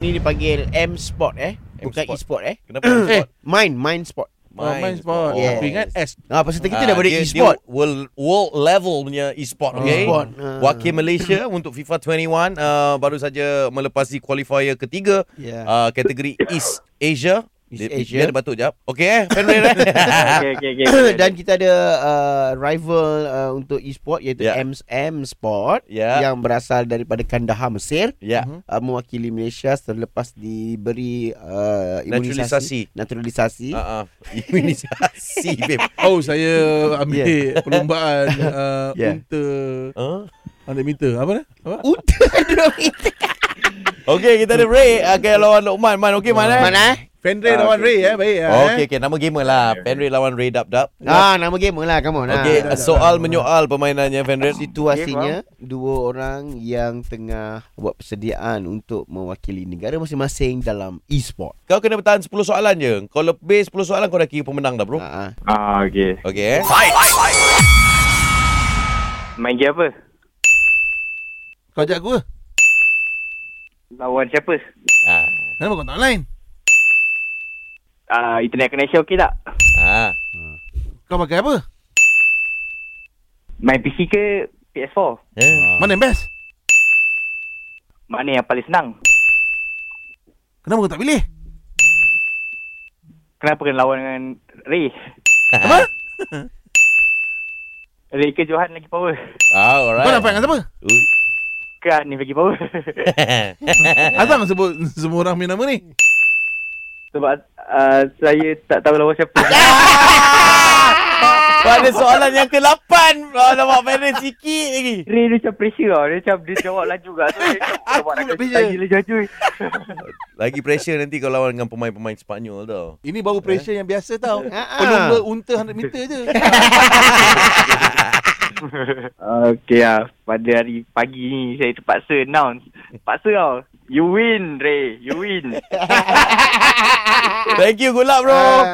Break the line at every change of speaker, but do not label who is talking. Ni dipanggil M Sport eh. Bukan
M-Sport.
e-sport eh.
Kenapa sport?
Mine, mine sport.
Main
main sport.
Yes.
Aku ingat S.
Ah, pasal kita
Ah,
dah daripada
dia-
e-sport.
Dia world, world level punya e-sport, okay?
E-sport,
E-sport.
ah.
Wakil Malaysia untuk FIFA 21 uh, baru saja melepasi qualifier ketiga
Ya.
uh, kategori East Asia.
East
Dia-
Asia.
Dia ada batuk jap. Okey eh, Fenrir eh.
Okay, okay, okay.
Dan kita ada uh, rival uh, untuk e-sport iaitu
Ya.
yeah. M M Sport
Ya.
yang berasal daripada Kandahar Mesir.
Ya.
Uh, mewakili Malaysia selepas diberi uh, imunisasi naturalisasi. Uh,
Ah, ah. Imunisasi, babe.
Oh, saya ambil
Yeah.
yeah. perlombaan uh,
Yeah.
yeah. unta
Huh?
100 meter. Apa ni? Apa?
Udah dua meter.
Okey, kita ada Ray okay, lawan Lokman. Man, okey Man eh?
Mana?
Fenrir
Ah,
lawan
okay.
Ray eh. Baik eh.
Okey, okey. Nama gamer lah. Fenrir lawan Ray Dab Dab.
Ah, nama gamer lah. Come on. ah.
Okey, soal menyoal permainannya Fenrir.
Situasinya dua orang yang tengah buat persediaan untuk mewakili negara masing-masing dalam e-sport.
Kau kena bertahan 10 soalan je. Kau lebih 10 soalan kau dah kira pemenang dah, bro.
Ah, ah.
Ah, okay.
Okey eh.
Main game apa?
Kau ajak aku ke?
Lawan siapa?
Ah.
Kenapa kau tak online?
Ah, internet connection okey tak?
Ah.
Kau pakai apa?
Main PC ke PS4?
Eh.
Mana yang best?
Mana yang paling senang?
Kenapa kau tak pilih?
Kenapa kena lawan dengan Ray?
Apa?
Ray ke Johan lagi power?
Ah, alright.
Kau nak fight dengan siapa?
Ui.
Ke Hanif lagi power?
Azam sebut semua orang punya nama ni.
Sebab uh, saya tak tahu lawan siapa.
Pada soalan yang ke-8 Alamak Fenrir sikit lagi
Ray dia macam pressure tau. Dia macam dia jawab laju kat. So, dia macam jawab nak kasi tanya dia jaju.
Lagi pressure nanti kau lawan dengan pemain-pemain Spanyol tau
Ini baru pressure yang biasa tau.
ah.
Pelumba unta 100 meter je.
Okay lah. Pada hari pagi ni saya terpaksa announce. Terpaksa tau. You win Ray. You win.
Thank you, good luck bro
Ah.